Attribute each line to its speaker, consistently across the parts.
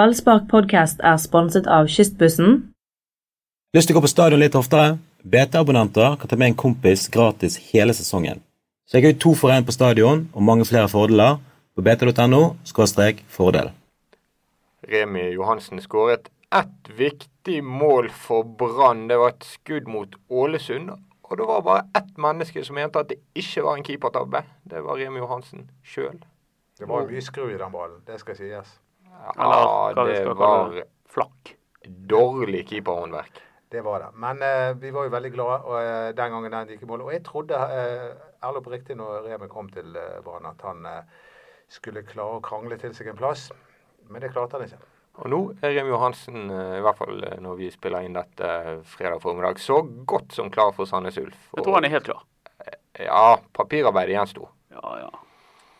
Speaker 1: Ballspark podcast er sponset av Kystbussen,
Speaker 2: Lyst til å gå på stadion litt oftere? BT-abonnenter kan ta med en kompis gratis hele sesongen. Sjekk ut to for én på stadion og mange flere fordeler på bt.no fordel.
Speaker 3: Remi Johansen skåret ett viktig mål for Brann. Det var et skudd mot Ålesund. Og det var bare ett menneske som mente at det ikke var en keepertabbe. Det var Remi Johansen sjøl.
Speaker 4: Det var jo mye skru i den ballen, det skal sies.
Speaker 3: Ja,
Speaker 5: hva vi
Speaker 3: det
Speaker 5: skal kalle
Speaker 3: var
Speaker 5: Flakk.
Speaker 3: dårlig keeperhåndverk.
Speaker 4: Det var det. Men eh, vi var jo veldig glade og, eh, den gangen den gikk i mål. Og jeg trodde, uh, ærlig og riktig, når Remi kom til eh, Brann, at han eh, skulle klare å krangle til seg en plass. Men det klarte han ikke.
Speaker 3: Og nå er Remi Johansen, eh, i hvert fall eh, når vi spiller inn dette eh, fredag formiddag, så godt som klar for Sandnes Ulf.
Speaker 5: Jeg tror han er helt klar.
Speaker 3: Ja, papirarbeidet gjensto.
Speaker 5: Ja, ja.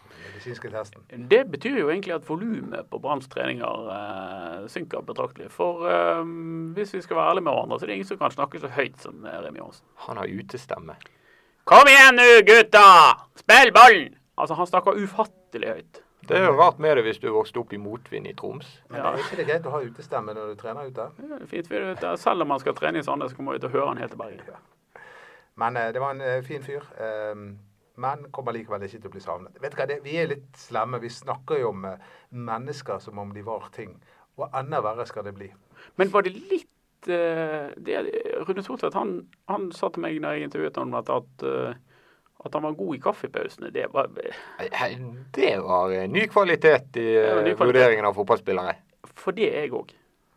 Speaker 4: Den medisinske testen.
Speaker 5: Det betyr jo egentlig at volumet på Branns treninger eh, synker betraktelig. For eh, hvis vi skal være ærlige med hverandre, så er det ingen som kan snakke så høyt som eh, Remi Johansen.
Speaker 3: Han har utestemme.
Speaker 5: Kom igjen nå, gutta! Spill ballen! Altså, han snakker ufattelig høyt.
Speaker 3: Det er jo rart med det hvis du vokste opp i motvind i Troms.
Speaker 4: Men
Speaker 5: Ja.
Speaker 4: er ikke det greit å ha utestemme når du trener ute?
Speaker 5: Det er Fint, vi er ute. Selv om han skal trene i Sandnes, så kommer vi til å høre han helt til Bergen.
Speaker 4: Men eh, det var en eh, fin fyr. Eh, men kommer likevel ikke til å bli savnet. Vet du hva, det, Vi er litt slemme. Vi snakker jo om eh, mennesker som om de var ting. Og enda verre skal det bli.
Speaker 5: Men var det litt eh, det, Rune Thortvedt han, han sa til meg når jeg intervjuet ham at, at, eh, at han var god i kaffepausene. Det var,
Speaker 3: Nei, Det var eh, ny kvalitet i
Speaker 5: var ny
Speaker 3: eh,
Speaker 5: kvalitet.
Speaker 3: vurderingen av fotballspillere.
Speaker 5: for det er jeg òg.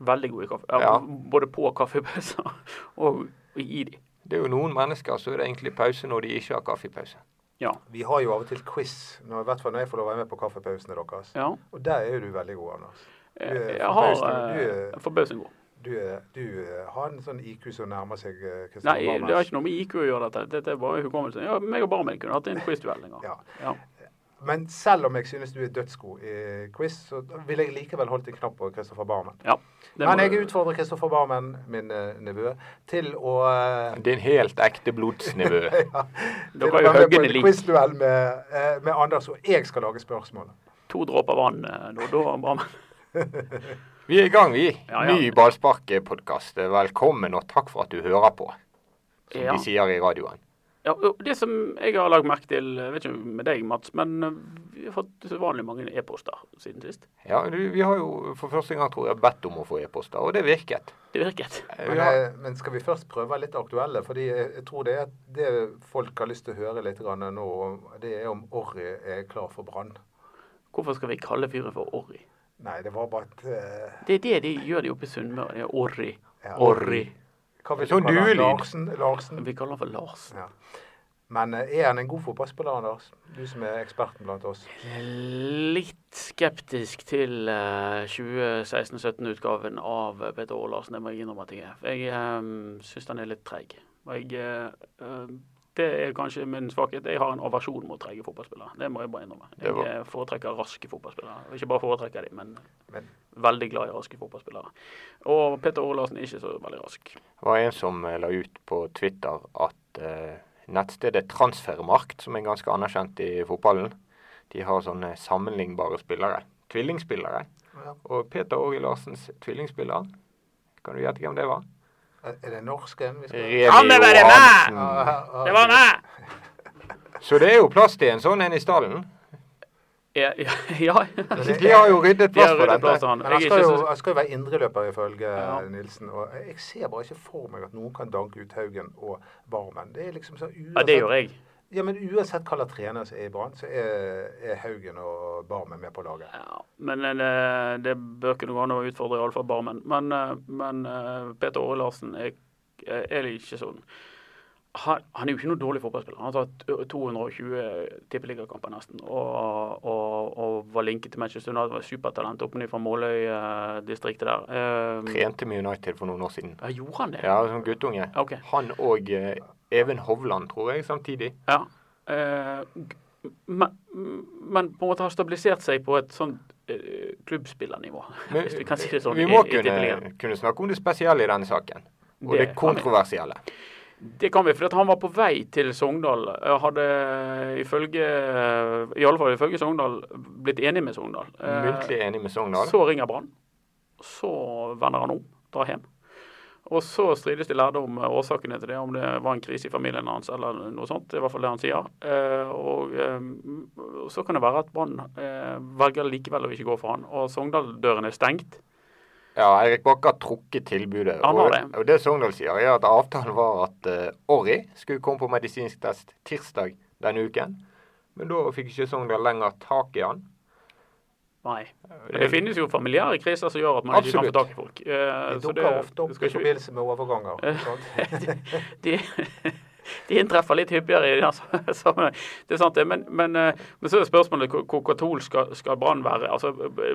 Speaker 5: Veldig god i kaffe. Ja,
Speaker 3: Ja.
Speaker 5: Både på kaffepauser og, og i de.
Speaker 3: Det er jo noen mennesker så er det egentlig pause når de ikke har kaffepause.
Speaker 5: Ja.
Speaker 4: Vi har jo av og til quiz, når, i hvert fall når jeg får lov å være med på kaffepausene deres.
Speaker 5: ja.
Speaker 4: Og der er jo du veldig god, Anders. Du
Speaker 5: Jeg,
Speaker 4: er
Speaker 5: jeg har
Speaker 4: forbausende.
Speaker 5: eh, forbausende god.
Speaker 4: Du, er, du eh, har en sånn IQ som nærmer seg eh,
Speaker 5: Nei,
Speaker 4: Christian
Speaker 5: det har
Speaker 4: Barmes.
Speaker 5: ikke noe med IQ å gjøre, dette. Dette er bare hukommelsen. Ja, meg og Barmen kunne hatt en quiz-duell en gang.
Speaker 4: Ja.
Speaker 5: Ja.
Speaker 4: Men selv om jeg synes du er dødsgod i quiz, så vil jeg likevel holdt en knapp på Christopher Barmen.
Speaker 5: Ja. Det
Speaker 4: Men
Speaker 5: må-
Speaker 4: jeg utfordrer Kristoffer Barmen, min eh, nevø, til å eh,
Speaker 3: Det er en helt ekte blodsnivå.
Speaker 4: til å
Speaker 5: kan jo
Speaker 4: være med
Speaker 5: hogge
Speaker 4: på
Speaker 5: det
Speaker 4: en
Speaker 5: lik.
Speaker 4: quizduell med, eh, med Anders, og jeg skal lage spørsmålet.
Speaker 5: To dråper vann eh, nå, da, Barmen.
Speaker 3: Vi er i gang, vi.
Speaker 5: Ja, ja.
Speaker 3: Ny ballsparkpodkast. Velkommen, og takk for at du hører på, som
Speaker 5: Ja.
Speaker 3: de sier i radioen.
Speaker 5: Ja, og det som jeg har lagt merke til, jeg vet ikke med deg Mats, men eh, vi har fått usedvanlig mange e-poster siden sist.
Speaker 3: Ja, du, vi har jo for første gang, tror jeg, bedt om å få e-poster, og det virket.
Speaker 5: Det virket.
Speaker 3: Eh,
Speaker 4: Men,
Speaker 3: vi har-
Speaker 4: eh, men skal vi først prøve litt aktuelle? Fordi jeg, jeg tror det, er- det folk har lyst til å høre litt grann nå, om- det er om Orry er klar for brann.
Speaker 5: Hvorfor skal vi kalle fyret for Orri?
Speaker 4: Nei, det var bare et eh,
Speaker 5: Det er det de gjør de oppe i Sunnmøre. Det er Orri.
Speaker 4: Ja.
Speaker 5: Orri.
Speaker 4: Hva vil
Speaker 3: Det er
Speaker 4: du
Speaker 3: sånn
Speaker 4: kalle han?
Speaker 3: duelyd.
Speaker 4: Larsen? Larsen.
Speaker 5: Vi kaller han for Lars.
Speaker 4: Ja. Men eh, er han en god fotballspiller, Anders? Du som er eksperten blant oss.
Speaker 5: Litt skeptisk til eh, 2016-17-utgaven av Peter Ålarsen, det må jeg innrømme at jeg er. Jeg um, syns den er litt treig. Og Jeg, eh, eh, det er kanskje min svakhet. Jeg har en aversjon mot treige fotballspillere. Det må jeg bare innrømme.
Speaker 3: Det var-
Speaker 5: Jeg eh, foretrekker raske fotballspillere. Og Ikke bare foretrekker de, men
Speaker 4: Men
Speaker 5: veldig glad i raske fotballspillere. Og Peter Ålarsen er ikke så veldig rask.
Speaker 3: Det var en som eh, la ut på Twitter at eh, nettstedet Transfermarkt, som er ganske anerkjent i fotballen, de har sånne sammenlignbare spillere. Tvillingspillere.
Speaker 4: Ja.
Speaker 3: Og Peter Åge Larsens tvillingspiller, kan du gjette hvem det var?
Speaker 4: er er det norsken vi skal
Speaker 3: Remi
Speaker 5: det var det meg!
Speaker 3: Johansen.
Speaker 5: Det var eh! meg!
Speaker 3: Så det er jo plass til en sånn en i stallen.
Speaker 5: Ja, ja, ja.
Speaker 3: De har jo ryddet
Speaker 5: De
Speaker 3: plass
Speaker 5: har
Speaker 3: for
Speaker 5: ryddet
Speaker 3: dette.
Speaker 5: plass til han.
Speaker 4: Men han
Speaker 5: Jeg er
Speaker 4: skal,
Speaker 5: ikke
Speaker 4: jo,
Speaker 5: så
Speaker 4: han skal jo være indreløper, ifølge eh,
Speaker 5: Ja.
Speaker 4: Nilsen. Og jeg ser bare ikke for meg at noen kan danke ut Haugen og Barmen. Det er liksom så uansett,
Speaker 5: Ja, det gjør jeg.
Speaker 4: Ja, men uansett hva slags trener som er i Brann, så er, er Haugen og Barmen med på laget.
Speaker 5: Ja, men eh, det bør kunne gå an å utfordre iallfall Barmen. Men, eh, men eh, Peter Åre Larsen er, er ikke sånn. Han, han er jo ikke noen dårlig fotballspiller. Han har tatt 220 tippeligakamper nesten. Og, og, og var linket til Manchester United. Var supertalent oppe ned fra Måløy-distriktet der. Eh,
Speaker 3: Trente med United for noen år siden.
Speaker 5: ja, gjorde han det?
Speaker 3: Ja, som guttunge.
Speaker 5: Ok.
Speaker 3: Han og eh, Even Hovland, tror jeg, samtidig.
Speaker 5: Ja. Eh, g- men, men på en måte har stabilisert seg på et sånn eh, klubbspillernivå,
Speaker 3: Men
Speaker 5: hvis vi kan si det sånn.
Speaker 3: Vi må
Speaker 5: i- i Tippeligaen.
Speaker 3: kunne, kunne snakke om det spesielle i denne saken. Og det,
Speaker 5: Det kan vi.
Speaker 3: kontroversielle.
Speaker 5: Det kan vi, for at han var på vei til Sogndal. eh, Hadde ifølge i alle fall ifølge Sogndal blitt enig med Sogndal. Eh,
Speaker 3: Muntlig enig med Sogndal.
Speaker 5: Så ringer Brann Så vender han om, drar hjem. Og så strides de lærde om eh, årsakene til det, om det var en krise i familien hans eller noe sånt. Det er i hvert fall det han sier. Eh, og eh, så kan det være at Brann eh, velger likevel å ikke gå for han. Og Sogndal-døren er stengt.
Speaker 3: Ja, Eirik Bakke har trukket tilbudet.
Speaker 5: Han har
Speaker 3: og,
Speaker 5: det.
Speaker 3: og det Sogndal sier, er at avtalen var at eh, Orri skulle komme på medisinsk test tirsdag denne uken. Men da fikk ikke Sogndal lenger tak i han.
Speaker 5: Nei. Men det finnes jo familiære kriser som gjør at man ikke kan få
Speaker 3: Absolutt.
Speaker 5: tak i folk. Eh,
Speaker 4: De
Speaker 5: så
Speaker 4: dukker ofte opp i
Speaker 5: skal ikke vi-
Speaker 4: forbindelse med overganger. ikke sant?
Speaker 5: de, de inntreffer litt hyppigere i den sammenheng. Det er sant, det. Men, men, eh, men så er spørsmålet hvor- hvor katolsk skal, skal Brann være. Altså,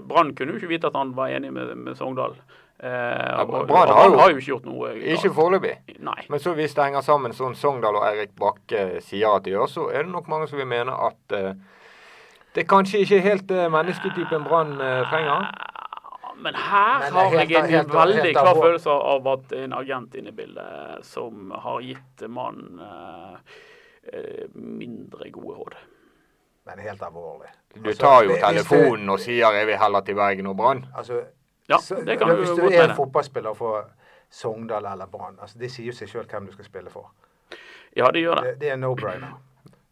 Speaker 5: Brann kunne jo ikke vite at han var enig med, med Sogndal. Eh, og-
Speaker 3: Brann
Speaker 5: og
Speaker 3: har jo-
Speaker 5: har jo ikke gjort noe. eh,
Speaker 3: Ikke foreløpig.
Speaker 5: Nei.
Speaker 3: Men så hvis det henger sammen sånn Sogndal og Eirik Bakke sier at det gjør, så er det nok mange som vil mene at eh, det er kanskje ikke helt eh, mennesketypen Brann eh, trenger.
Speaker 5: Men her
Speaker 4: Men
Speaker 5: har
Speaker 4: helt
Speaker 5: jeg en
Speaker 4: av- helt av-
Speaker 5: veldig
Speaker 4: helt av
Speaker 5: klar
Speaker 4: vår-
Speaker 5: følelse av at en agent inne i bildet som har gitt mannen eh, eh, mindre gode råd.
Speaker 4: Men helt alvorlig.
Speaker 3: Du
Speaker 4: Altså,
Speaker 3: tar jo
Speaker 4: hvis du-
Speaker 3: telefonen og sier 'jeg vil heller til Bergen og Brann'.
Speaker 4: Altså,
Speaker 5: Ja,
Speaker 4: så-
Speaker 5: det kan du
Speaker 4: Hvis
Speaker 5: godt
Speaker 4: du er
Speaker 5: mene.
Speaker 4: en fotballspiller for Sogndal eller Brann, altså, det sier jo seg sjøl hvem du skal spille for.
Speaker 5: Ja, det gjør det.
Speaker 4: Det, det er no-brainer.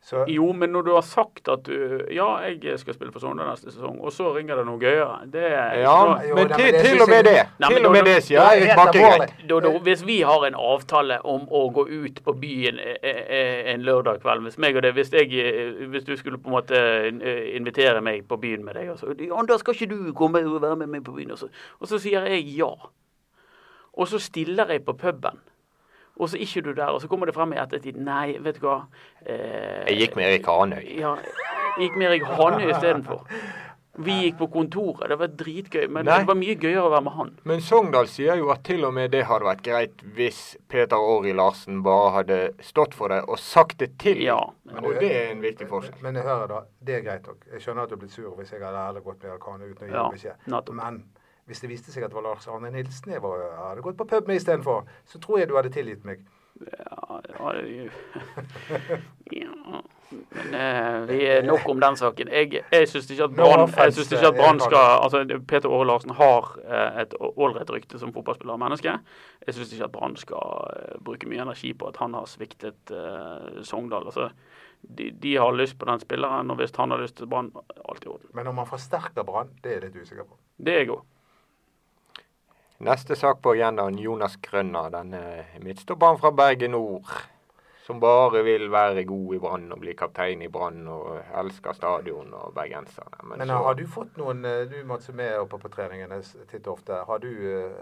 Speaker 4: Så
Speaker 5: Jo, men når du har sagt at du Ja, jeg skal spille for Sogndal neste sesong, og så ringer det noe gøyere. Det er
Speaker 3: Ja,
Speaker 5: da,
Speaker 4: jo,
Speaker 3: men
Speaker 4: nei,
Speaker 3: til,
Speaker 4: men det
Speaker 3: til
Speaker 4: synes
Speaker 3: og med det
Speaker 4: jeg-
Speaker 5: Nei, men
Speaker 3: Til og
Speaker 5: da-
Speaker 3: med det sier
Speaker 4: da er det
Speaker 3: Eirik
Speaker 4: helt
Speaker 3: Bakke
Speaker 4: alvorlig.
Speaker 3: greit.
Speaker 5: da, Hvis vi har en avtale om å gå ut på byen eh, eh, en lørdag kveld Hvis meg og det, hvis, jeg, eh, hvis du skulle på en måte eh, invitere meg på byen med deg og så, ja, da skal ikke du komme og være med meg på byen. Og så, og så sier jeg ja. Og så stiller jeg på puben. Og så er ikke du der, og så kommer det frem i ettertid. Nei, vet du hva. Eh,
Speaker 3: Jeg gikk med Erik Hanøy.
Speaker 5: Ja, gikk med Erik Hanøy istedenfor. Vi gikk på kontoret. Det var dritgøy. Men
Speaker 3: Nei.
Speaker 5: det var mye gøyere å være med han.
Speaker 3: Men Sogndal sier jo at til og med det hadde vært greit hvis Peter Åri Larsen bare hadde stått for det og sagt det til.
Speaker 5: Ja.
Speaker 3: Og det er en viktig forskjell.
Speaker 4: Men jeg hører da, det er greit nok. Jeg skjønner at du er blitt sur hvis jeg hadde heller gått med Arkane uten å gi
Speaker 5: Ja,
Speaker 4: deg beskjed.
Speaker 5: nettopp.
Speaker 4: Men hvis det viste seg at det var Lars Arne Nilsen jeg var, jeg hadde gått på pub med istedenfor, så tror jeg du hadde tilgitt meg.
Speaker 5: Ja, ja, det- ja. Men eh, vi er nok om den saken. Jeg, jeg syns ikke at
Speaker 4: No
Speaker 5: Brann jeg
Speaker 4: offense,
Speaker 5: synes ikke at Brann
Speaker 4: Erik
Speaker 5: skal altså det- Peter Åre Larsen har eh, et ålreit rykte som fotballspiller og menneske. Jeg syns ikke at Brann skal eh, bruke mye energi på at han har sviktet eh, Sogndal. Altså, de, de har lyst på den spilleren, og hvis han har lyst til Brann, alt i orden.
Speaker 4: Men om han forsterker Brann, det er jeg litt usikker på.
Speaker 5: Det er jeg òg.
Speaker 3: Neste sak på agendaen, Jonas Grønner, denne midtstopperen fra Bergen Nord. Som bare vil være god i Brann og bli kaptein i Brann og elsker stadion og bergenserne. Men,
Speaker 4: Men
Speaker 3: så,
Speaker 4: har du fått noen eh, Du Mats, som er oppe på treningene s- titt og ofte. Har du eh,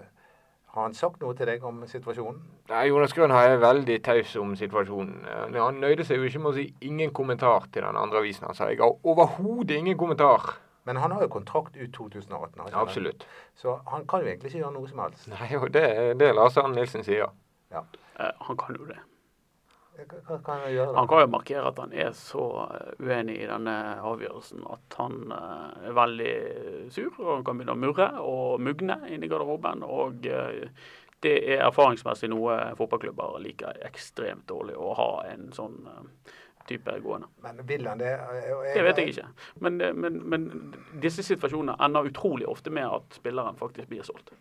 Speaker 4: Har han sagt noe til deg om situasjonen?
Speaker 3: Nei, Jonas Grønner er veldig taus om situasjonen. Eh, Han nøyde seg jo ikke med å si 'ingen kommentar' til den andre avisen. Han sa 'jeg har overhodet ingen kommentar'.
Speaker 4: Men han har jo kontrakt ut 2018, har ikke han?
Speaker 3: Absolutt.
Speaker 4: så han kan jo egentlig ikke gjøre noe som helst.
Speaker 3: Nei, og det er det Lars Arne Nilsen sier.
Speaker 4: Ja.
Speaker 5: Eh, han kan jo det.
Speaker 4: Hva hva kan han gjøre? da?
Speaker 5: Han kan jo markere at han er så eh, uenig i denne avgjørelsen at han eh, er veldig sur. og Han kan begynne å murre og mugne inni garderoben. og eh, Det er erfaringsmessig noe fotballklubber liker ekstremt dårlig, å ha en sånn eh, type gående.
Speaker 4: Men vil han det? Eh,
Speaker 5: Det vet jeg ikke. Men, eh, men, men disse situasjonene ender utrolig ofte med at spilleren faktisk blir solgt.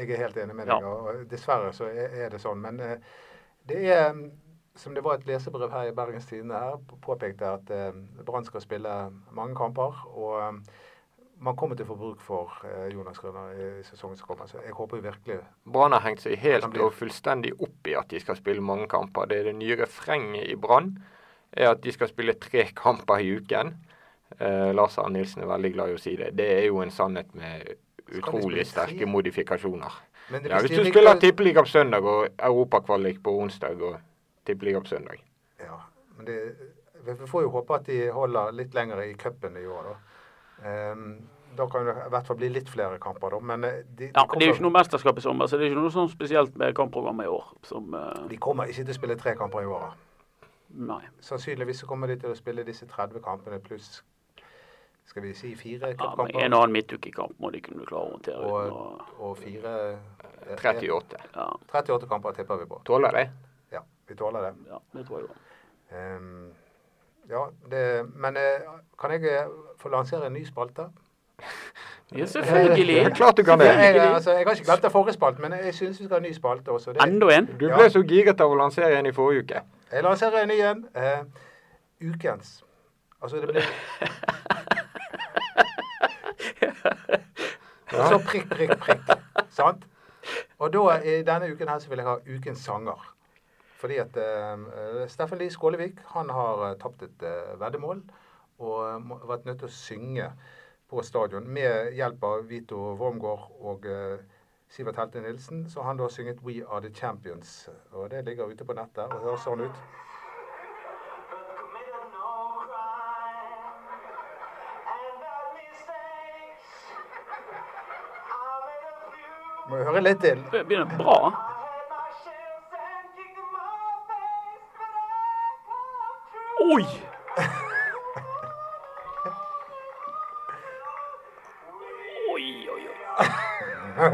Speaker 4: Jeg er helt enig med
Speaker 5: Ja.
Speaker 4: deg, og- og dessverre så er er det sånn. Men eh, det er, mm, som det var et lesebrev her i Bergens Tidende her, p- påpekte at eh, Brann skal spille mange kamper. Og eh, man kommer til å få bruk for eh, Jonas Grønner i sesongen som kommer. Så jeg håper virkelig
Speaker 3: Brann har hengt seg
Speaker 4: Han
Speaker 3: helt
Speaker 4: blir-
Speaker 3: og fullstendig opp i at de skal spille mange kamper. Det er det nye refrenget i Brann, er at de skal spille tre kamper i uken. Eh, Lars Arne Nilsen er veldig glad i å si det. Det er jo en sannhet med
Speaker 4: de
Speaker 3: utrolig
Speaker 4: spille tre?
Speaker 3: sterke modifikasjoner.
Speaker 4: Men det-
Speaker 3: Ja,
Speaker 4: hvis
Speaker 3: hvis
Speaker 4: de
Speaker 3: du
Speaker 4: ligger-
Speaker 3: spiller tippeliga på søndag og europakvalik på onsdag og tippeliga på søndag.
Speaker 4: Ja. Men det, vi vi får jo håpe at de holder litt lenger i cupen i år, da. Ehm, da kan det i hvert fall bli litt flere kamper, da. Men eh, de, de
Speaker 5: Ja, Det er jo
Speaker 4: kommer-
Speaker 5: ikke noe mesterskap i sommer, så det er ikke noe sånn spesielt med kampprogrammet i år. som... eh,
Speaker 4: de kommer ikke til å spille tre kamper i året.
Speaker 5: Nei.
Speaker 4: Sannsynligvis så kommer de til å spille disse 30 kampene pluss skal vi si fire
Speaker 5: Ja, men
Speaker 4: cupkamper
Speaker 5: en og annen midtukekamp må de kunne klare å håndtere. uten å-
Speaker 4: og, og fire eh,
Speaker 3: 38.
Speaker 5: Ja,
Speaker 4: 38 kamper tipper vi på.
Speaker 3: Tåler det?
Speaker 4: Ja, vi tåler det.
Speaker 5: ja, det tror jeg òg.
Speaker 4: Ehm, ja, det men eh, kan jeg eh, få lansere en ny spalte?
Speaker 5: Ja, selvfølgelig.
Speaker 3: Klart du kan det.
Speaker 4: Jeg, jeg- altså, jeg har ikke glemt den forrige spalten, men jeg syns vi skal ha en ny spalte også. Det,
Speaker 5: Enda en.
Speaker 3: Du ble så giret av å lansere en i forrige uke.
Speaker 4: jeg lanserer en ny en. Eh, ukens. Altså, det blir Og så prikk, prikk, prikk. Sant? Og da, i denne uken her, så vil jeg ha ukens sanger. Fordi at eh, Steffen Lie Skålevik, han har eh, tapt et eh, veddemål. Og eh, må- vært nødt til å synge på stadion med hjelp av Vito Wormgård og eh, Sivert Helte Nilsen. Så har han da synget 'We Are The Champions'. Og det ligger ute på nettet og høres sånn ut.
Speaker 6: committed no crime and bad mistakes. I made a few.
Speaker 4: Må jo høre litt til.
Speaker 5: Det Begynner bra.
Speaker 6: I had my shares and kicked in my face, but I come through.
Speaker 5: Oi! Oi, oi, oi.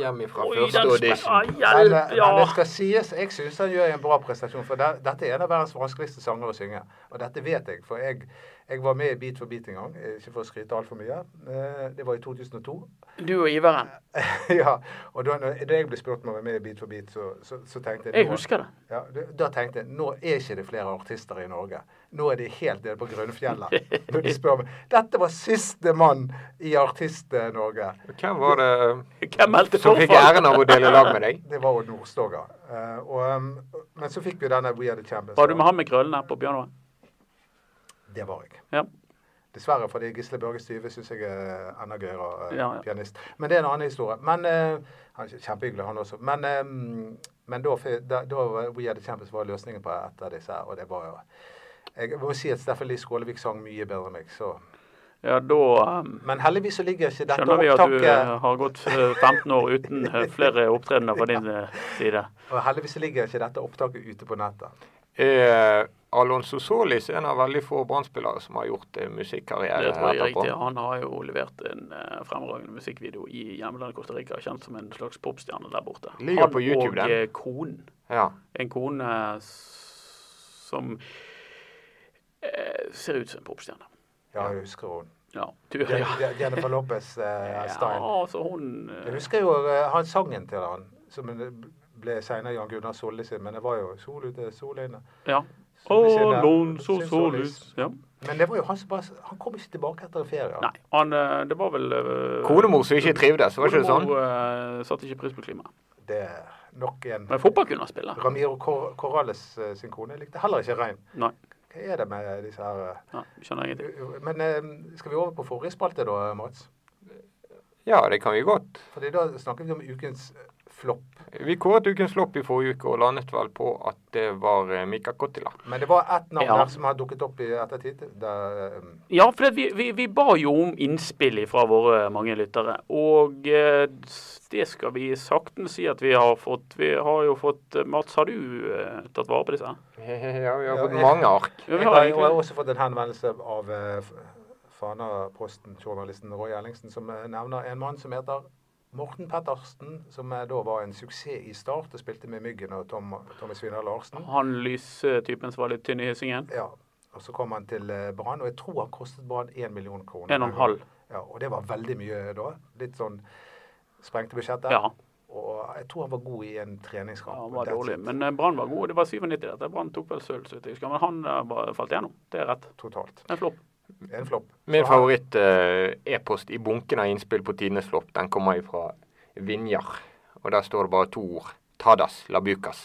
Speaker 3: Hjemmefra
Speaker 5: Oi,
Speaker 3: første
Speaker 5: den
Speaker 3: audition.
Speaker 5: spen-
Speaker 4: Men,
Speaker 5: Ah,
Speaker 4: eh,
Speaker 5: hjelp, ja.
Speaker 4: men det skal sies, jeg syns han gjør en bra prestasjon. For det, dette er en av verdens vanskeligste sanger å synge. Og dette vet jeg, for jeg, jeg var med i Beat for beat en gang. eh, Ikke for å skryte altfor mye. eh, Det var i 2002.
Speaker 5: Du og Iveren.
Speaker 4: ja, og da når- da jeg ble spurt om å være med i Beat for beat, så, så, så tenkte jeg
Speaker 5: Jeg
Speaker 4: nå-
Speaker 5: husker det.
Speaker 4: Ja, da- da tenkte jeg nå er ikke det flere artister i Norge. Nå er de helt nede på Grønnfjellet. Når de spør meg. Dette var siste mann i Artist-Norge.
Speaker 3: Hvem var det
Speaker 5: Hvem meldte
Speaker 3: som fikk
Speaker 5: forfall?
Speaker 3: æren av å dele lag med deg?
Speaker 4: Det var Odd Nordstoga. Eh, og, um, men så fikk vi denne We Are The Champions.
Speaker 5: Var du med han med krøllene på pianoet?
Speaker 4: Det var jeg.
Speaker 5: Ja.
Speaker 4: Dessverre, fordi Gisle Børge Styve syns jeg er enda gøyere eh,
Speaker 5: Ja, ja.
Speaker 4: pianist. Men det er en annen historie. Men eh, Han er kjempehyggelig, han også. Men, eh, men da, fi- da, da var We Are The Champions var løsningen på et av disse her, og det var jo Jeg må si at Steffen Lie Skålevik sang mye bedre enn meg, så
Speaker 5: Ja, da ehm,
Speaker 4: Men heldigvis så ligger ikke dette
Speaker 5: skjønner vi at du eh,
Speaker 4: opptaket
Speaker 5: har gått eh, 15 år uten eh, flere opptredener fra din eh, side.
Speaker 4: og Heldigvis så ligger ikke dette opptaket ute på nettet.
Speaker 3: Er Alonso Solis en av veldig få Brann-spillere som har gjort eh, musikkarriere
Speaker 5: Det tror jeg er
Speaker 3: etterpå?
Speaker 5: riktig. Han har jo levert en eh, fremragende musikkvideo i hjemlandet Costa Rica, kjent som en slags popstjerne der borte.
Speaker 3: Ligger på YouTube,
Speaker 5: Han
Speaker 3: den.
Speaker 5: og eh, konen.
Speaker 3: Ja.
Speaker 5: En kone eh, s- som eh, ser ut som en popstjerne.
Speaker 4: Ja, jeg husker hun.
Speaker 5: Ja, du, ja.
Speaker 4: Je- Jennifer eh, Lopez-style.
Speaker 5: ja altså hun eh,
Speaker 4: Jeg husker jo eh, han sangen til han, som en- ble senere Jan Gunnar Solli sin, men det var jo sol ute, sol inne.
Speaker 5: Ja.
Speaker 4: Sol i sinne,
Speaker 5: Alonso
Speaker 4: sol i
Speaker 5: Solis.
Speaker 4: solis.
Speaker 5: Ja.
Speaker 4: Men det var jo han som bare Han kom ikke tilbake etter en ferie.
Speaker 5: Nei, han eh, Det var vel eh,
Speaker 3: Konemor som ikke trivdes, var ikke det sånn?
Speaker 5: Konemor, eh, satte ikke pris på klimaet.
Speaker 4: Det er nok en
Speaker 5: Men fotball kunne han spille.
Speaker 4: Ramiro Cor Corrales eh, sin kone likte heller ikke regn.
Speaker 5: Nei.
Speaker 4: Hva er det med disse her eh,
Speaker 5: Nei, skjønner ingenting.
Speaker 4: u- u- Men eh, skal vi over på forrige spalte da, Mats?
Speaker 3: Ja, det kan vi godt.
Speaker 4: Fordi da snakker vi om ukens eh, flopp.
Speaker 3: Vi kåret ukens lopp i forrige uke og landet vel på at det var eh, Mika Kottila.
Speaker 4: Men det var ett navn
Speaker 5: Ja.
Speaker 4: her som har dukket opp i ettertid. Der, eh,
Speaker 5: Ja, for det, vi, vi, vi ba jo om innspill fra våre mange lyttere. Og eh, det skal vi saktens si at vi har fått. Vi har jo fått Mats, har du eh, tatt vare på disse?
Speaker 3: Ja, vi har
Speaker 4: Ja,
Speaker 3: fått
Speaker 4: jeg-
Speaker 3: mange ark.
Speaker 5: Ja, vi
Speaker 4: Jeg
Speaker 5: har
Speaker 4: har, jeg har
Speaker 5: egentlig
Speaker 4: også fått en henvendelse av eh, F- Fana-posten-journalisten Roy Ellingsen, som eh, nevner en mann som heter Morten Pettersen, som eh, da var en suksess i start og spilte med Myggen og Tom, Tommy Svinar Larsen.
Speaker 5: han lystypen som var litt tynn i hyssingen.
Speaker 4: Ja, og så kom han til eh, Brann, og jeg tror han kostet Brann 1 million kroner.
Speaker 5: En og en halv.
Speaker 4: Ja, og det var veldig mye da. Litt sånn sprengte budsjettet.
Speaker 5: Ja.
Speaker 4: Og jeg tror han var god i en treningskamp.
Speaker 5: Ja, han var
Speaker 4: That's
Speaker 5: dårlig.
Speaker 4: it,
Speaker 5: Men eh, Brann var god. Det var 97 dette. Brann tok vel sølv, så vidt jeg husker. Men han eh, bare falt gjennom. Det er rett.
Speaker 4: Totalt.
Speaker 5: En flopp.
Speaker 4: En flopp.
Speaker 3: Min
Speaker 4: Så han-
Speaker 3: favoritt-e-post i bunken av innspill på tidenes flopp, den kommer fra Vinjar. Og der står det bare to ord. Tadas Labukas.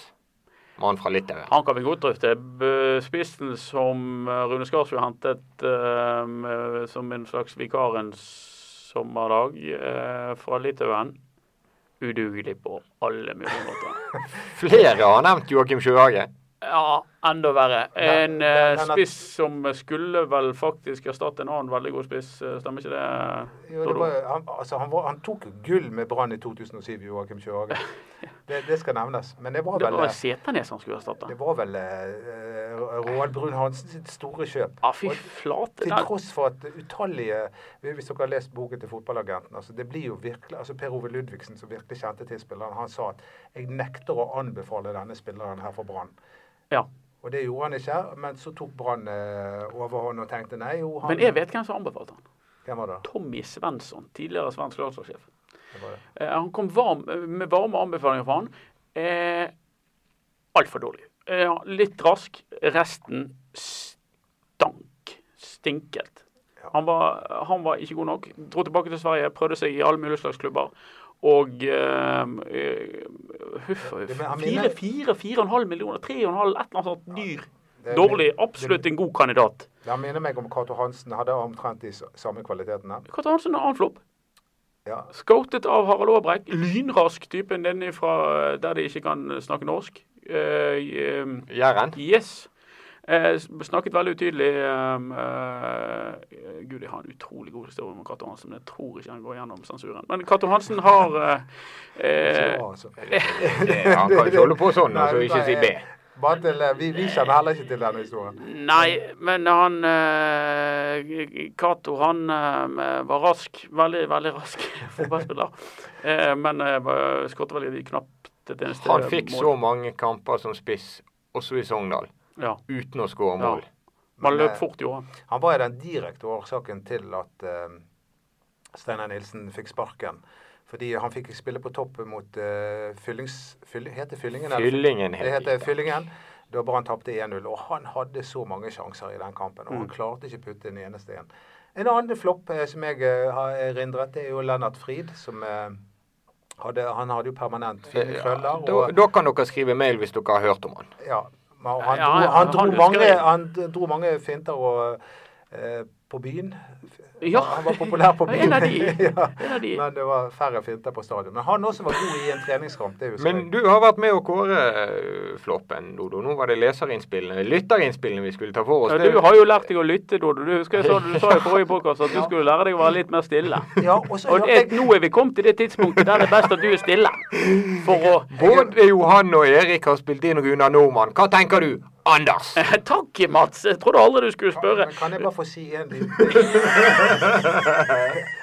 Speaker 3: Mann fra Litauen.
Speaker 5: Han kan vi godt drøfte. B- Spissen som eh, Rune Skarsrud hentet eh, med- som en slags vikarens sommerdag eh, fra Litauen, udugelig på alle mulige måter.
Speaker 3: Flere har nevnt Joakim Sjøhage.
Speaker 5: Ja, enda verre. En eh,
Speaker 4: den er-
Speaker 5: spiss som skulle vel faktisk erstatte en annen veldig god spiss, eh, stemmer ikke det?
Speaker 4: Jo, det
Speaker 5: Dodo?
Speaker 4: var, han, altså, han, var, han tok jo gull med Brann i 2007, Joakim Kjørhage. Det, det skal nevnes. Men det var
Speaker 5: Det
Speaker 4: vel, eh,
Speaker 5: var Setanes han skulle erstatte.
Speaker 4: det var vel eh, Roald Brun Hansen sitt store kjøp.
Speaker 5: Ja, fy
Speaker 4: Og
Speaker 5: flate.
Speaker 4: til
Speaker 5: Den,
Speaker 4: tross for at utallige Hvis dere har lest boken til fotballagenten altså det blir jo virkelig, altså Per Ove Ludvigsen, som virkelig kjente til spilleren, han sa at 'jeg nekter å anbefale denne spilleren her for Brann'.
Speaker 5: ja.
Speaker 4: Og det gjorde han ikke, men så tok Brann eh, overhånd og tenkte nei jo, han
Speaker 5: Men jeg vet hvem som anbefalte han.
Speaker 4: Hvem var det? da?
Speaker 5: Tommy Svensson, tidligere svensk landslagssjef.
Speaker 4: Hvem var det?
Speaker 5: Eh, han kom varm, med varme anbefalinger for han. Eh, Altfor dårlig. Eh, litt rask. Resten stank. Stinket.
Speaker 4: Ja.
Speaker 5: Han, var, han var ikke god nok. Dro tilbake til Sverige, prøvde seg i alle mulige slags klubber. Og eh, eh, huff og
Speaker 4: Det-
Speaker 5: huff.
Speaker 4: men han
Speaker 5: Fire,
Speaker 4: minner-
Speaker 5: fire, fire og en halv millioner, tre og en halv, et eller annet sånt dyr.
Speaker 4: Det-
Speaker 5: Dårlig.
Speaker 4: det-
Speaker 5: Absolutt en god kandidat.
Speaker 4: Han minner meg om Cato Hansen. Hadde omtrent de s- samme kvalitetene.
Speaker 5: Katta Hansen er annen flopp.
Speaker 4: Ja.
Speaker 5: Scoutet av Harald Aabrekk. Lynrask typen den fra der de ikke kan snakke norsk. Eh, ehm,
Speaker 3: Jæren.
Speaker 5: yes. Eh, snakket veldig utydelig ehm, eh, Gud, jeg har en utrolig god historie om Cato Hansen, men jeg tror ikke han går gjennom sensuren. Men Cato Hansen har eh, eh,
Speaker 4: Så, altså.
Speaker 3: Det, han kan ikke holde på sånn
Speaker 4: Nei,
Speaker 3: og så ikke si B.
Speaker 4: Bare til, eh, vi, vi kjenner heller ikke til denne historien.
Speaker 5: Nei, men han eh, Cato, han eh, var rask. Veldig, veldig rask fotballspiller. Eh, men eh, skåret vel knapt et eneste
Speaker 3: Han fikk
Speaker 5: mål.
Speaker 3: så mange kamper som spiss, også i Sogndal,
Speaker 5: Ja.
Speaker 3: uten å skåre
Speaker 5: Ja.
Speaker 3: mål.
Speaker 5: Man
Speaker 4: Men, eh,
Speaker 5: løp fort, gjorde han.
Speaker 4: Han var jo den direkte årsaken til at eh, Steinar Nilsen fikk sparken. Fordi han fikk spille på topp mot eh, Fyllings... Fyll, heter Fyllingen? eller?
Speaker 3: Fyllingen
Speaker 4: Det
Speaker 3: heter
Speaker 4: heter
Speaker 3: det.
Speaker 4: Fyllingen. Da Brann tapte 1-0. Og han hadde så mange sjanser i den kampen,
Speaker 5: Mm.
Speaker 4: og han klarte ikke putte en eneste en. En annen flopp eh, som jeg eh, har erindret, det er jo Lennart Frid, som eh, hadde, han hadde jo permanent fine krøller.
Speaker 3: Da,
Speaker 4: og-
Speaker 3: da kan dere skrive mail hvis dere har hørt om han.
Speaker 4: ja. men Han,
Speaker 5: Ja, ja,
Speaker 4: dro, han, dro
Speaker 5: han husker
Speaker 4: mange,
Speaker 5: jeg.
Speaker 4: han dro mange finter og, eh, på byen.
Speaker 5: Ja.
Speaker 4: Han var populær på byen.
Speaker 5: En av de.
Speaker 4: ja.
Speaker 5: En av de.
Speaker 4: Men det var færre finter på stadion. Men han også var god i en treningskamp. det husker
Speaker 3: Men
Speaker 4: jeg.
Speaker 3: du har vært med å kåre eh, floppen, Dodo. Nå var det leserinnspillene, lytterinnspillene vi skulle ta for oss.
Speaker 5: Ja, du har jo lært deg å lytte, Dodo. Du husker jeg sa, du sa i forrige podcast at du skulle lære deg å være litt mer stille.
Speaker 4: Ja, og så
Speaker 5: Og
Speaker 4: hørte
Speaker 5: det,
Speaker 4: jeg-
Speaker 5: nå er vi kommet til det tidspunktet der det er best at du er stille. For å
Speaker 3: Både Johan og Erik har spilt inn Runar Nordmann. Hva tenker du, Anders?
Speaker 5: Eh, Takk, Mats. Jeg trodde aldri du skulle spørre.
Speaker 4: Men kan jeg bare få si en liten ting?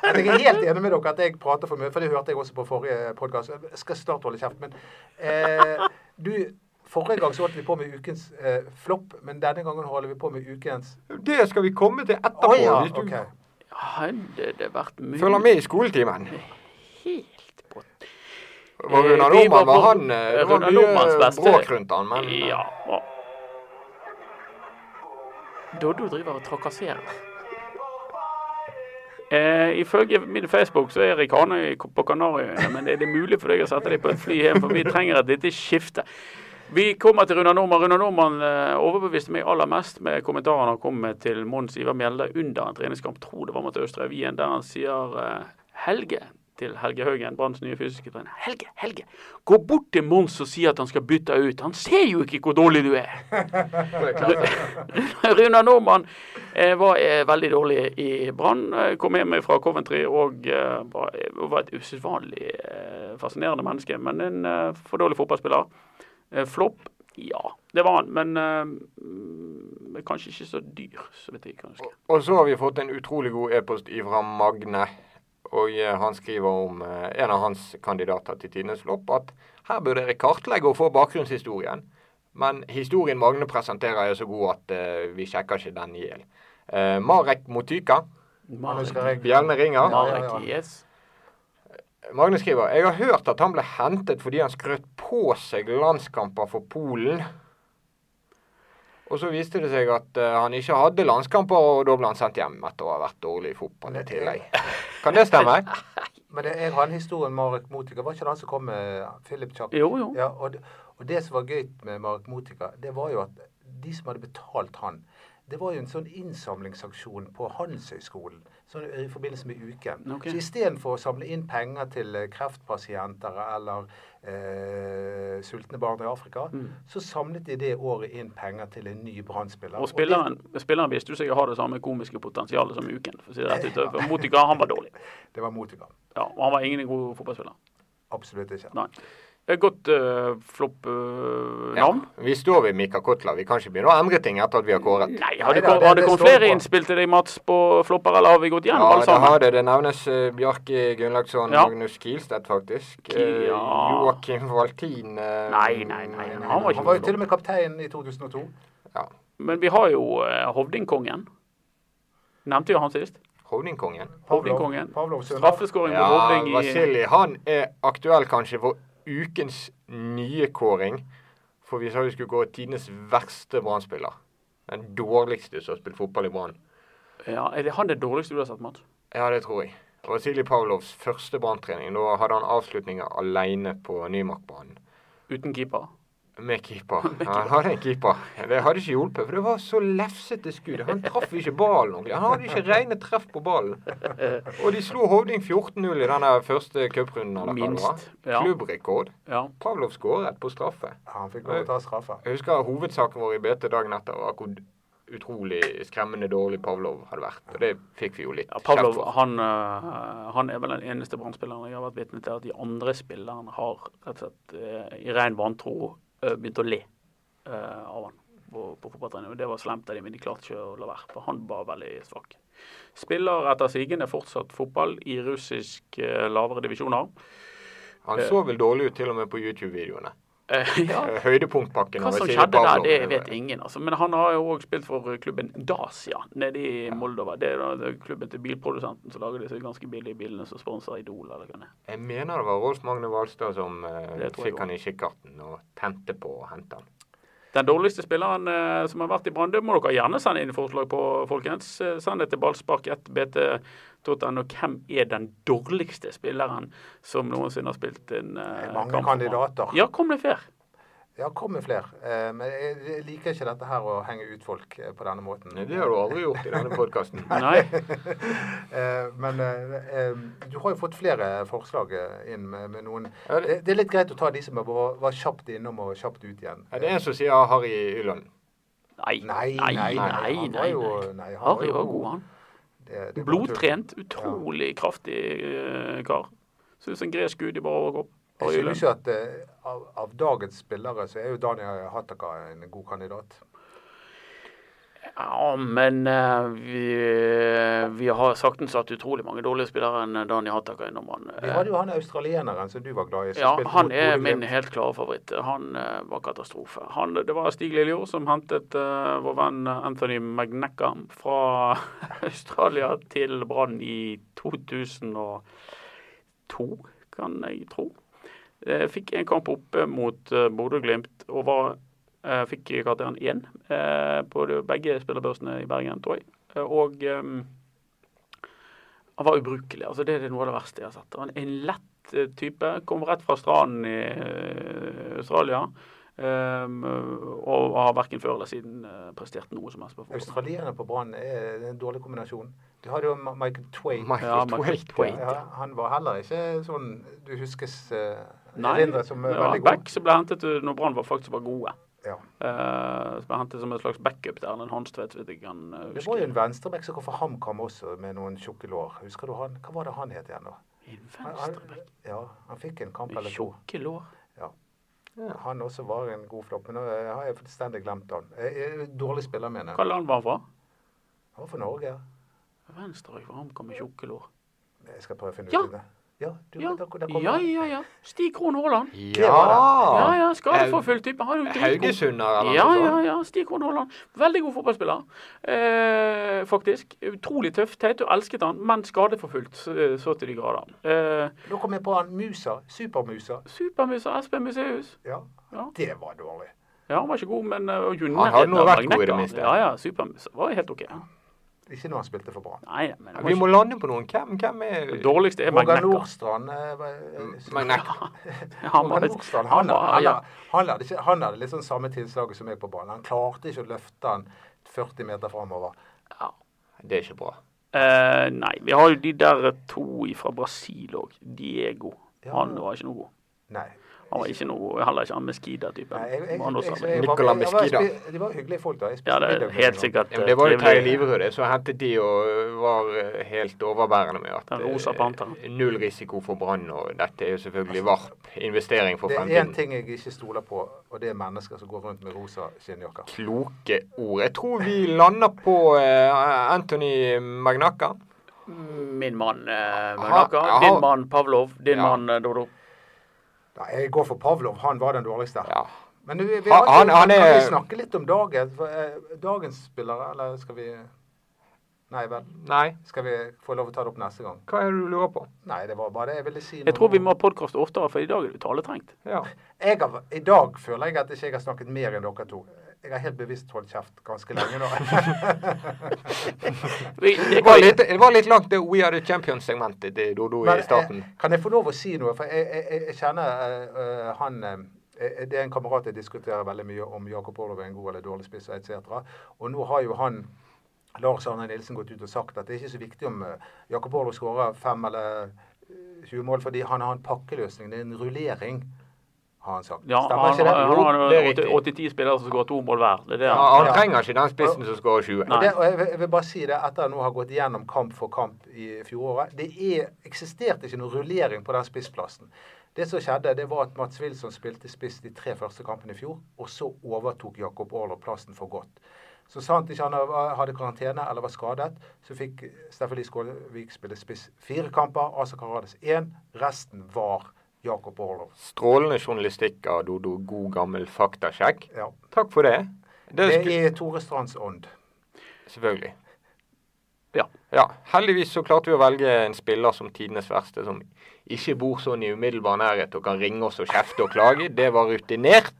Speaker 4: At Jeg er helt enig med dere at jeg prater for mye, for det hørte jeg også på forrige podkast. Jeg skal snart holde kjeft, men eh, du Forrige gang så holdt vi på med ukens eh, flopp, men denne gangen holder vi på med ukens
Speaker 3: Det skal vi komme til etterpå.
Speaker 4: Å ja,
Speaker 3: hvis du
Speaker 4: ok.
Speaker 5: Hadde det vært
Speaker 3: følger
Speaker 5: mulig
Speaker 3: med i skoletimen.
Speaker 5: helt på
Speaker 3: Var Runar
Speaker 5: Vi var
Speaker 3: Nordmann var
Speaker 5: på-
Speaker 3: han eh, Det var
Speaker 5: Runar Nordmanns
Speaker 3: mye
Speaker 5: beste-
Speaker 3: bråk rundt han, men eh,
Speaker 5: Ja. og- Doddo driver og trakasserer. Eh, ifølge min Facebook så er Erik Hanøy på Kanariøyene, men er det mulig for deg å sette deg på et fly hjem, for vi trenger et lite skifte. Vi kommer til Runar Normann. Runar Normann eh, overbeviste meg aller mest med kommentaren han kom med til Mons Ivar Mjelde under en treningskamp, tror det var mot Østre Wien, der han sier eh, Helge til Helge Haugen, Branns nye fysiske trener. Helge, Helge, gå bort til Mons og si at han skal bytte deg ut. Han ser jo ikke hvor dårlig du er. Runar Normann eh, var eh, veldig dårlig i Brann. Eh, Kom hjem fra Coventry og eh, var, var et usedvanlig eh, fascinerende menneske, men en eh, for dårlig fotballspiller. Eh, flopp, ja, det var han, men eh, mm, kanskje ikke så dyr, så vidt jeg kan huske.
Speaker 3: Og så har vi fått en utrolig god e-post ifra Magne. Og eh, han skriver om eh, en av hans kandidater til tidenes flopp at her bør dere kartlegge og få bakgrunnshistorien. Men historien Magne presenterer er så god at eh, vi sjekker ikke den i hjel. Eh, Marek Motyka,
Speaker 4: Han husker jeg.
Speaker 3: Bjørne Ringer.
Speaker 4: Ja,
Speaker 5: Marek, yes.
Speaker 3: Magne skriver Jeg har hørt at han ble hentet fordi han skrøt på seg landskamper for Polen. Og så viste det seg at eh, han ikke hadde landskamper, og da ble han sendt hjem etter å ha vært dårlig i fotball i tillegg. Kan det stemme?
Speaker 4: Men det, jeg har en historie om Marek Motika. Var ikke det han som kom med Philip Chuck?
Speaker 5: Jo, jo.
Speaker 4: Ja, og, det- og det som var gøy med Marek Motika, det var jo at de som hadde betalt han, det var jo en sånn innsamlingsaksjon på Handelshøyskolen sånn i forbindelse med uken.
Speaker 5: Ok.
Speaker 4: Så istedenfor å samle inn penger til eh, kreftpasienter eller eh, sultne barn i Afrika,
Speaker 5: Mm.
Speaker 4: så samlet de det året inn penger til en ny Brann-spiller.
Speaker 5: Og spilleren, spilleren viste jo seg å ha det samme komiske potensialet som Uken. for å si det rett ut. For Motika, han var dårlig.
Speaker 4: det, det var Motika.
Speaker 5: Ja, og han var ingen god fotballspiller.
Speaker 4: Absolutt ikke.
Speaker 5: Nei. Et godt uh, flopp-navn.
Speaker 3: Vi står ved Mika Kotla. Vi kan ikke begynne å endre ting etter at vi har kåret.
Speaker 5: Nei, har
Speaker 4: Neida,
Speaker 5: det, kom- har
Speaker 4: det- det
Speaker 5: det kommet
Speaker 4: står
Speaker 5: flere
Speaker 4: på.
Speaker 5: innspill til deg, Mats, på flopper, eller har vi gått
Speaker 3: Ja,
Speaker 5: gjennom alle
Speaker 3: det
Speaker 5: sammen?
Speaker 3: har det. Det nevnes eh, Bjarki Gunnlaugsson
Speaker 5: Ja.
Speaker 3: Magnus Kielstedt, faktisk.
Speaker 5: Ki-
Speaker 3: Eh,
Speaker 5: ja.
Speaker 3: Joakim Valtin eh,
Speaker 5: Nei, nei, nei, nei, han var ikke
Speaker 4: Han var jo til og med kaptein i 2002.
Speaker 3: ja.
Speaker 5: Men vi har jo eh, Hovdingkongen. Nevnte jo han sist.
Speaker 3: Hovningkongen.
Speaker 5: Hovdingkongen.
Speaker 4: Pavlov Sønner.
Speaker 5: Straffeskåring på Hovding i
Speaker 3: Vasili, han er aktuell kanskje for ukens nye kåring. For vi sa vi skulle gå tidenes verste Brann-spiller. Den dårligste som har spilt fotball i Brann.
Speaker 5: ja, Er det han det dårligste du har sett, Mats?
Speaker 3: Ja, det tror jeg. Vasilij Pavlovs første Brann-trening. Da hadde han avslutninger alene på Nymarkbanen.
Speaker 5: Uten keeper?
Speaker 3: Med keeper. Ja, han hadde en keeper. Det hadde ikke hjulpet, for det var så lefsete skudd. Han traff ikke ballen ordentlig. Han hadde ikke rene treff på ballen. Og de slo Hovding 14-0 i den første cuprunden. eller hva det var.
Speaker 5: Minst, ja.
Speaker 3: Klubbrekord.
Speaker 5: Ja.
Speaker 3: Pavlov skåret på straffe.
Speaker 4: Han fikk lov å ta straffe.
Speaker 3: Jeg husker hovedsaken vår i BT dagen etter var hvor utrolig skremmende dårlig Pavlov hadde vært. Og det fikk vi jo litt
Speaker 5: Ja,
Speaker 3: kjeft
Speaker 5: Pavlov
Speaker 3: for.
Speaker 5: han, øh, han er vel den eneste Brann-spilleren jeg har vært vitne til at de andre spillerne har rett og slett øh, i ren vantro øh, begynt å le øh, av han på, på fotballtrening. Og Det var slemt av dem, men de klarte ikke å la være. For han var veldig svak. Spiller etter sigende fortsatt fotball i russisk øh, lavere divisjoner.
Speaker 3: Han så vel dårlig ut til og med på YouTube-videoene.
Speaker 5: Eh, ja,
Speaker 3: Eh, Høydepunktpakken
Speaker 5: Hva som skjedde der,
Speaker 3: eh,
Speaker 5: det vet ingen. Altså. Men han har jo òg spilt for eh, klubben Dacia nede i Moldova. Det er da det er klubben til bilprodusenten som lager disse ganske billige bilene som sponser Idol. eller hva det er.
Speaker 3: Jeg mener det var Rolf Magne Hvalstad som eh,
Speaker 5: Det tror jeg
Speaker 3: fikk han i kikkerten og tente på å hente han.
Speaker 5: Den dårligste spilleren eh, som har vært i Brann, det må dere gjerne sende inn forslag på, folkens. Eh, Send det til ballspark1bt.no. Hvem er den dårligste spilleren som noensinne har spilt en
Speaker 4: Mange
Speaker 5: eh, kamp? for Brann?
Speaker 4: kandidater.
Speaker 5: Ja, kom deg fair.
Speaker 4: Ja, kom med flere. Eh, Men jeg jeg liker ikke dette her å henge ut folk eh, på denne måten.
Speaker 3: Nei, Det har du aldri gjort i denne podkasten.
Speaker 5: Nei.
Speaker 4: Eh, Men eh, eh, du har jo fått flere forslag eh, inn med, med noen.
Speaker 3: Ja, det-
Speaker 4: Det, det er litt greit å ta de som er- var, var kjapt innom og kjapt ut igjen.
Speaker 3: Det er en som sier Harry Yland.
Speaker 5: Nei,
Speaker 4: Nei,
Speaker 5: nei,
Speaker 4: nei,
Speaker 5: nei.
Speaker 4: han var
Speaker 5: nei,
Speaker 4: jo-
Speaker 5: nei.
Speaker 4: nei, han var
Speaker 5: Harry
Speaker 4: jo
Speaker 5: var
Speaker 4: god.
Speaker 5: god, han.
Speaker 4: Det- det var
Speaker 5: Blodtrent, utrolig kraftig eh, kar. Så ut som en gresk gud i bare overkropp.
Speaker 4: tull.
Speaker 5: Har
Speaker 4: Jeg
Speaker 5: jo
Speaker 4: synes
Speaker 5: lønn.
Speaker 4: jo at eh, av, av dagens spillere så er jo Daniel Hattaka en god kandidat.
Speaker 5: Ja, men eh, vi, eh, vi har saktens hatt utrolig mange dårlige spillere enn Dani Hattaka innom han.
Speaker 4: Vi hadde jo han australieneren som du var glad i. som
Speaker 5: Ja,
Speaker 4: spilte
Speaker 5: han
Speaker 4: mot
Speaker 5: er
Speaker 4: Bodø Glimt.
Speaker 5: min helt klare favoritt. Han eh, var katastrofe. Han, det var Stig Lillejord som hentet eh, vår venn Anthony McNeckham fra Australia til Brann i 2002, kan jeg tro. Eh, fikk en kamp oppe mot eh, Bodø-Glimt og var, eh, fikk karakteren én eh, på de, begge spillerbørsene i Bergen, tror jeg. Eh, og eh, han var ubrukelig. altså Det er noe av det verste jeg har sett. Han er en lett eh, type. Kom rett fra stranden i eh, Australia. ehm, og har verken før eller siden eh, prestert noe som helst på fotball.
Speaker 4: Australierer på Brann er en dårlig kombinasjon. Du hadde jo Ma- Michael Twain.
Speaker 5: Ja,
Speaker 3: Michael
Speaker 5: Michael
Speaker 3: Twaite.
Speaker 5: Twaite.
Speaker 4: Ja, han var heller ikke sånn du huskes uh,
Speaker 5: Nei, det
Speaker 4: erindret som eh,
Speaker 5: var
Speaker 4: veldig
Speaker 5: en
Speaker 4: god.
Speaker 5: back som ble hentet eh, når Brann var- faktisk var gode.
Speaker 4: Ja.
Speaker 5: Eh, som ble hentet som en slags backup til Erlend Hanstvedt, vet jeg ikke om han eh,
Speaker 4: Det var jo
Speaker 5: husker.
Speaker 4: en venstrebekk som kom fra HamKam også, med noen tjukke lår. Husker du han? Hva var det han het igjen, da?
Speaker 5: En
Speaker 4: Han- han-
Speaker 5: venstreback
Speaker 4: Ja, han fikk en kamp
Speaker 5: med
Speaker 4: eller to.
Speaker 5: tjukke lår.
Speaker 4: Han også var en god flopp, men nå eh, har jeg fullstendig glemt han. Eh, eh, Dårlig spiller, mener
Speaker 5: Hva
Speaker 4: jeg.
Speaker 5: land var han fra?
Speaker 4: Han var fra Norge.
Speaker 5: Venstreback for HamKam med tjukke lår.
Speaker 4: Jeg skal prøve å finne
Speaker 5: Ja.
Speaker 4: ut det. Ja, du,
Speaker 5: Ja,
Speaker 4: Der, der kom
Speaker 5: ja,
Speaker 4: han.
Speaker 5: ja. ja. Stig Krohn Haaland. Ja,
Speaker 3: Ja!
Speaker 5: ja. Skal
Speaker 3: Eh,
Speaker 5: få full type. Han er jo dritgod.
Speaker 3: Haugesunder eller
Speaker 5: Ja,
Speaker 3: noe
Speaker 5: ja,
Speaker 3: sånt.
Speaker 5: ja. Stig Horn Haaland. Veldig god fotballspiller, eh, faktisk. Utrolig tøff. Teit og elsket han, men skadeforfulgt så så til de grader. Eh,
Speaker 4: Nå kom jeg på han. Musa. Supermusa.
Speaker 5: Supermus og Espen Museus.
Speaker 4: Ja.
Speaker 5: Ja.
Speaker 4: Det var dårlig.
Speaker 5: Ja, han var ikke god, men eh, og jo
Speaker 3: Han hadde
Speaker 5: nærheten
Speaker 3: nå
Speaker 5: av
Speaker 3: vært god i det
Speaker 5: Magnetka.
Speaker 3: minste.
Speaker 5: Ja, ja. Supermus var helt OK.
Speaker 4: Ikke når han spilte for Brann.
Speaker 5: Nei, men han
Speaker 3: Vi må
Speaker 5: var ikke...
Speaker 3: lande på noen. Hvem, hvem er
Speaker 5: Det dårligste er
Speaker 4: Roger
Speaker 5: Magnetka.
Speaker 4: Nordstrand eh, var- eh,
Speaker 3: Magnetka.
Speaker 5: Mm, Han var
Speaker 4: Roger
Speaker 5: litt-
Speaker 4: Nordstrand,
Speaker 5: han
Speaker 4: han,
Speaker 5: var-
Speaker 4: han,
Speaker 5: ja.
Speaker 4: han, hadde ikke, han hadde litt sånn samme tilslaget som meg på banen. Han klarte ikke å løfte han 40 meter framover.
Speaker 5: Ja.
Speaker 3: Det er ikke bra.
Speaker 5: Eh, nei, vi har jo de der to fra Brasil òg. Diego.
Speaker 4: Ja.
Speaker 5: Han var ikke noe god.
Speaker 4: Nei.
Speaker 5: Han var ikke noe god. Heller ikke han
Speaker 4: Nei,
Speaker 5: Meskida-typen.
Speaker 4: jeg- jeg- jeg-
Speaker 5: Han også-
Speaker 4: jeg- jeg- jeg-
Speaker 3: Nicolas
Speaker 4: jeg- jeg- jeg-
Speaker 3: Mesquida.
Speaker 4: jeg- jeg- De var hyggelige folk da. Jeg spiste
Speaker 5: Ja, det er
Speaker 4: middag med
Speaker 5: helt
Speaker 4: dem.
Speaker 5: sikkert
Speaker 3: Ja, men det var jo
Speaker 5: eh,
Speaker 3: Terje
Speaker 5: trivelig.
Speaker 3: Liverød så hentet de og øh, var øh, helt overbærende med at
Speaker 5: Den rosa
Speaker 3: øh,
Speaker 5: panteren.
Speaker 3: null risiko for brann, og dette er jo selvfølgelig varp investering for
Speaker 4: Det er én
Speaker 3: fremtiden.
Speaker 4: ting jeg ikke stoler på, og det er mennesker som går rundt med rosa skinnjakker.
Speaker 3: Kloke ord. Jeg tror vi lander på øh, Anthony Magnacca.
Speaker 5: Min mann eh,
Speaker 3: Aha.
Speaker 5: Magnaka, din mann Pavlov, din
Speaker 3: Ja.
Speaker 5: mann eh, Dodo.
Speaker 4: Nei, jeg går for Pavlov. Han var den dårligste.
Speaker 3: Ja.
Speaker 4: Men vi, vi,
Speaker 3: Han- han- han
Speaker 4: kan
Speaker 3: er-
Speaker 4: vi snakke litt om dagen, for, eh, dagens spillere, eller skal vi Nei vel.
Speaker 3: Nei,
Speaker 4: Skal vi få lov å ta det opp neste gang?
Speaker 3: hva er det du lurer på?
Speaker 4: Nei, det var bare det jeg ville si. nå.
Speaker 5: Jeg tror vi må ha podkast oftere, for i dag er du taletrengt.
Speaker 3: Ja.
Speaker 4: jeg har, I dag føler jeg at ikke jeg har snakket mer enn dere to. Jeg har helt bevisst holdt kjeft ganske lenge nå.
Speaker 5: Vi,
Speaker 3: Det var litt, det var litt langt det We Are The Champions-segmentet til Dodo i
Speaker 4: Men,
Speaker 3: starten.
Speaker 4: eh, kan jeg få lov å si noe? For jeg, jeg, jeg- jeg kjenner eh, eh, han eh, eh, Det er en kamerat jeg diskuterer veldig mye om Jakob Orlov er en god eller dårlig spiss etc. Og nå har jo han Lars Arne Nilsen gått ut og sagt at det er ikke så viktig om eh, Jakob Orlov skårer fem eller eh, 20 mål, fordi han har en pakkeløsning. Det er en rullering, har han sagt.
Speaker 5: Ja,
Speaker 4: Stemmer
Speaker 5: han,
Speaker 4: ikke det?
Speaker 5: han,
Speaker 4: Jo,
Speaker 5: han
Speaker 3: det er
Speaker 5: har
Speaker 3: riktig.
Speaker 5: 80-10 spillere som skårer to mål hver. Det er det
Speaker 3: Ja,
Speaker 5: han.
Speaker 3: han
Speaker 4: ja.
Speaker 3: trenger ikke den spissen som skårer 20.
Speaker 5: Nei.
Speaker 4: Og det, og jeg, vil- jeg vil bare si det etter å nå ha gått gjennom kamp for kamp i fjoråret. Det er, eksisterte ikke noen rullering på den spissplassen. Det som skjedde, det var at Mats Wilson spilte spiss de tre første kampene i fjor, og så overtok Jakob Aarlov plassen for godt. Så sant ikke han var- hadde karantene eller var skadet, så fikk Steffen Lie Skålevik spille spiss fire kamper, Asa Karades én. Resten var Jakob Aarlov.
Speaker 3: Strålende journalistikk av Dodo. God gammel faktasjekk.
Speaker 4: Ja.
Speaker 3: Takk for det. Det
Speaker 4: Det
Speaker 3: skulle,
Speaker 4: er Tore Strands ånd.
Speaker 3: selvfølgelig.
Speaker 5: Ja.
Speaker 3: Ja, heldigvis så klarte vi å velge en spiller som tidenes verste, som ikke bor sånn i umiddelbar nærhet og kan ringe oss og kjefte og klage. Det var rutinert.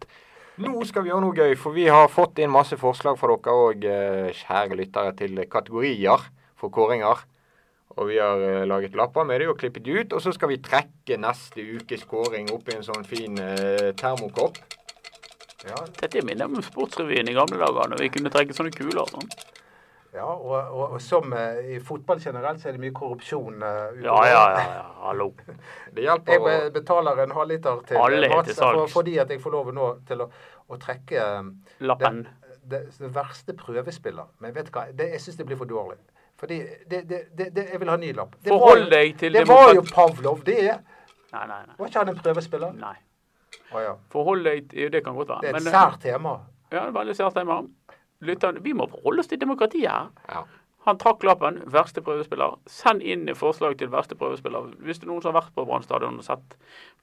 Speaker 3: Nå skal vi gjøre noe gøy, for vi har fått inn masse forslag fra dere og eh, kjære lyttere til kategorier for kåringer. Og vi har eh, laget lapper med det og klippet de ut. Og så skal vi trekke neste ukes kåring opp i en sånn fin eh, termokopp.
Speaker 4: Ja,
Speaker 5: Dette minner om Sportsrevyen i gamle dager, når vi kunne trekke sånne kuler. og Sånn.
Speaker 4: Ja, og, og, og som eh, i fotball generelt, så er det mye korrupsjon. eh, utover.
Speaker 5: Ja, ja, ja, ja. Hallo.
Speaker 3: Det
Speaker 4: Jeg
Speaker 3: hjelper å
Speaker 4: be- betaler en halvliter til
Speaker 5: Alle er
Speaker 4: Mats,
Speaker 5: til
Speaker 4: for,
Speaker 5: salgs.
Speaker 4: fordi at jeg får lov nå til å, å trekke eh,
Speaker 5: Lappen.
Speaker 4: det, det verste prøvespiller. Men vet du hva, det, jeg syns det blir for dårlig. Fordi det, det, det, det, jeg vil ha en ny lapp. Det var
Speaker 5: Forhold
Speaker 4: jo-
Speaker 5: deg til
Speaker 4: Det var
Speaker 5: demokrati-
Speaker 4: jo Pavlov, det.
Speaker 5: Nei, nei, nei.
Speaker 4: Var ikke han en prøvespiller?
Speaker 5: nei.
Speaker 4: Å ja.
Speaker 5: Forhold deg til Det kan godt være.
Speaker 4: Det er
Speaker 5: men,
Speaker 4: et
Speaker 5: eh,
Speaker 4: sært tema.
Speaker 5: Ja, det er veldig sært tema. Lytterne, vi må forholde oss til demokratiet her.
Speaker 3: ja.
Speaker 5: Han trakk lappen. Verste prøvespiller. Send inn forslag til verste prøvespiller. Hvis det er noen som har vært på Brann stadion og sett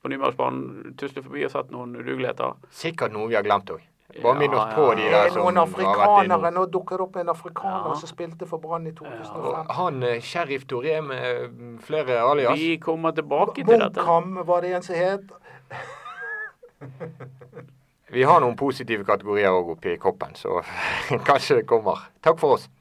Speaker 5: på Nymarksbanen, tuslet forbi og sett noen udugeligheter
Speaker 3: Sikkert noe vi har glemt òg. Bare minn oss
Speaker 5: Ja,
Speaker 3: på
Speaker 5: ja.
Speaker 3: de
Speaker 4: Det
Speaker 3: der
Speaker 4: er
Speaker 3: som
Speaker 4: noen
Speaker 3: har vært
Speaker 4: afrikanere.
Speaker 3: innom.
Speaker 4: Nå dukker det opp en afrikaner
Speaker 5: Ja.
Speaker 4: som spilte for Brann i 2005.
Speaker 3: Og Han eh, sheriff Toré med eh, flere alias.
Speaker 5: Vi kommer tilbake til dette.
Speaker 4: Munkam var det en som het.
Speaker 3: Vi har noen positive kategorier òg oppi koppen, så kanskje det kommer. Takk for oss.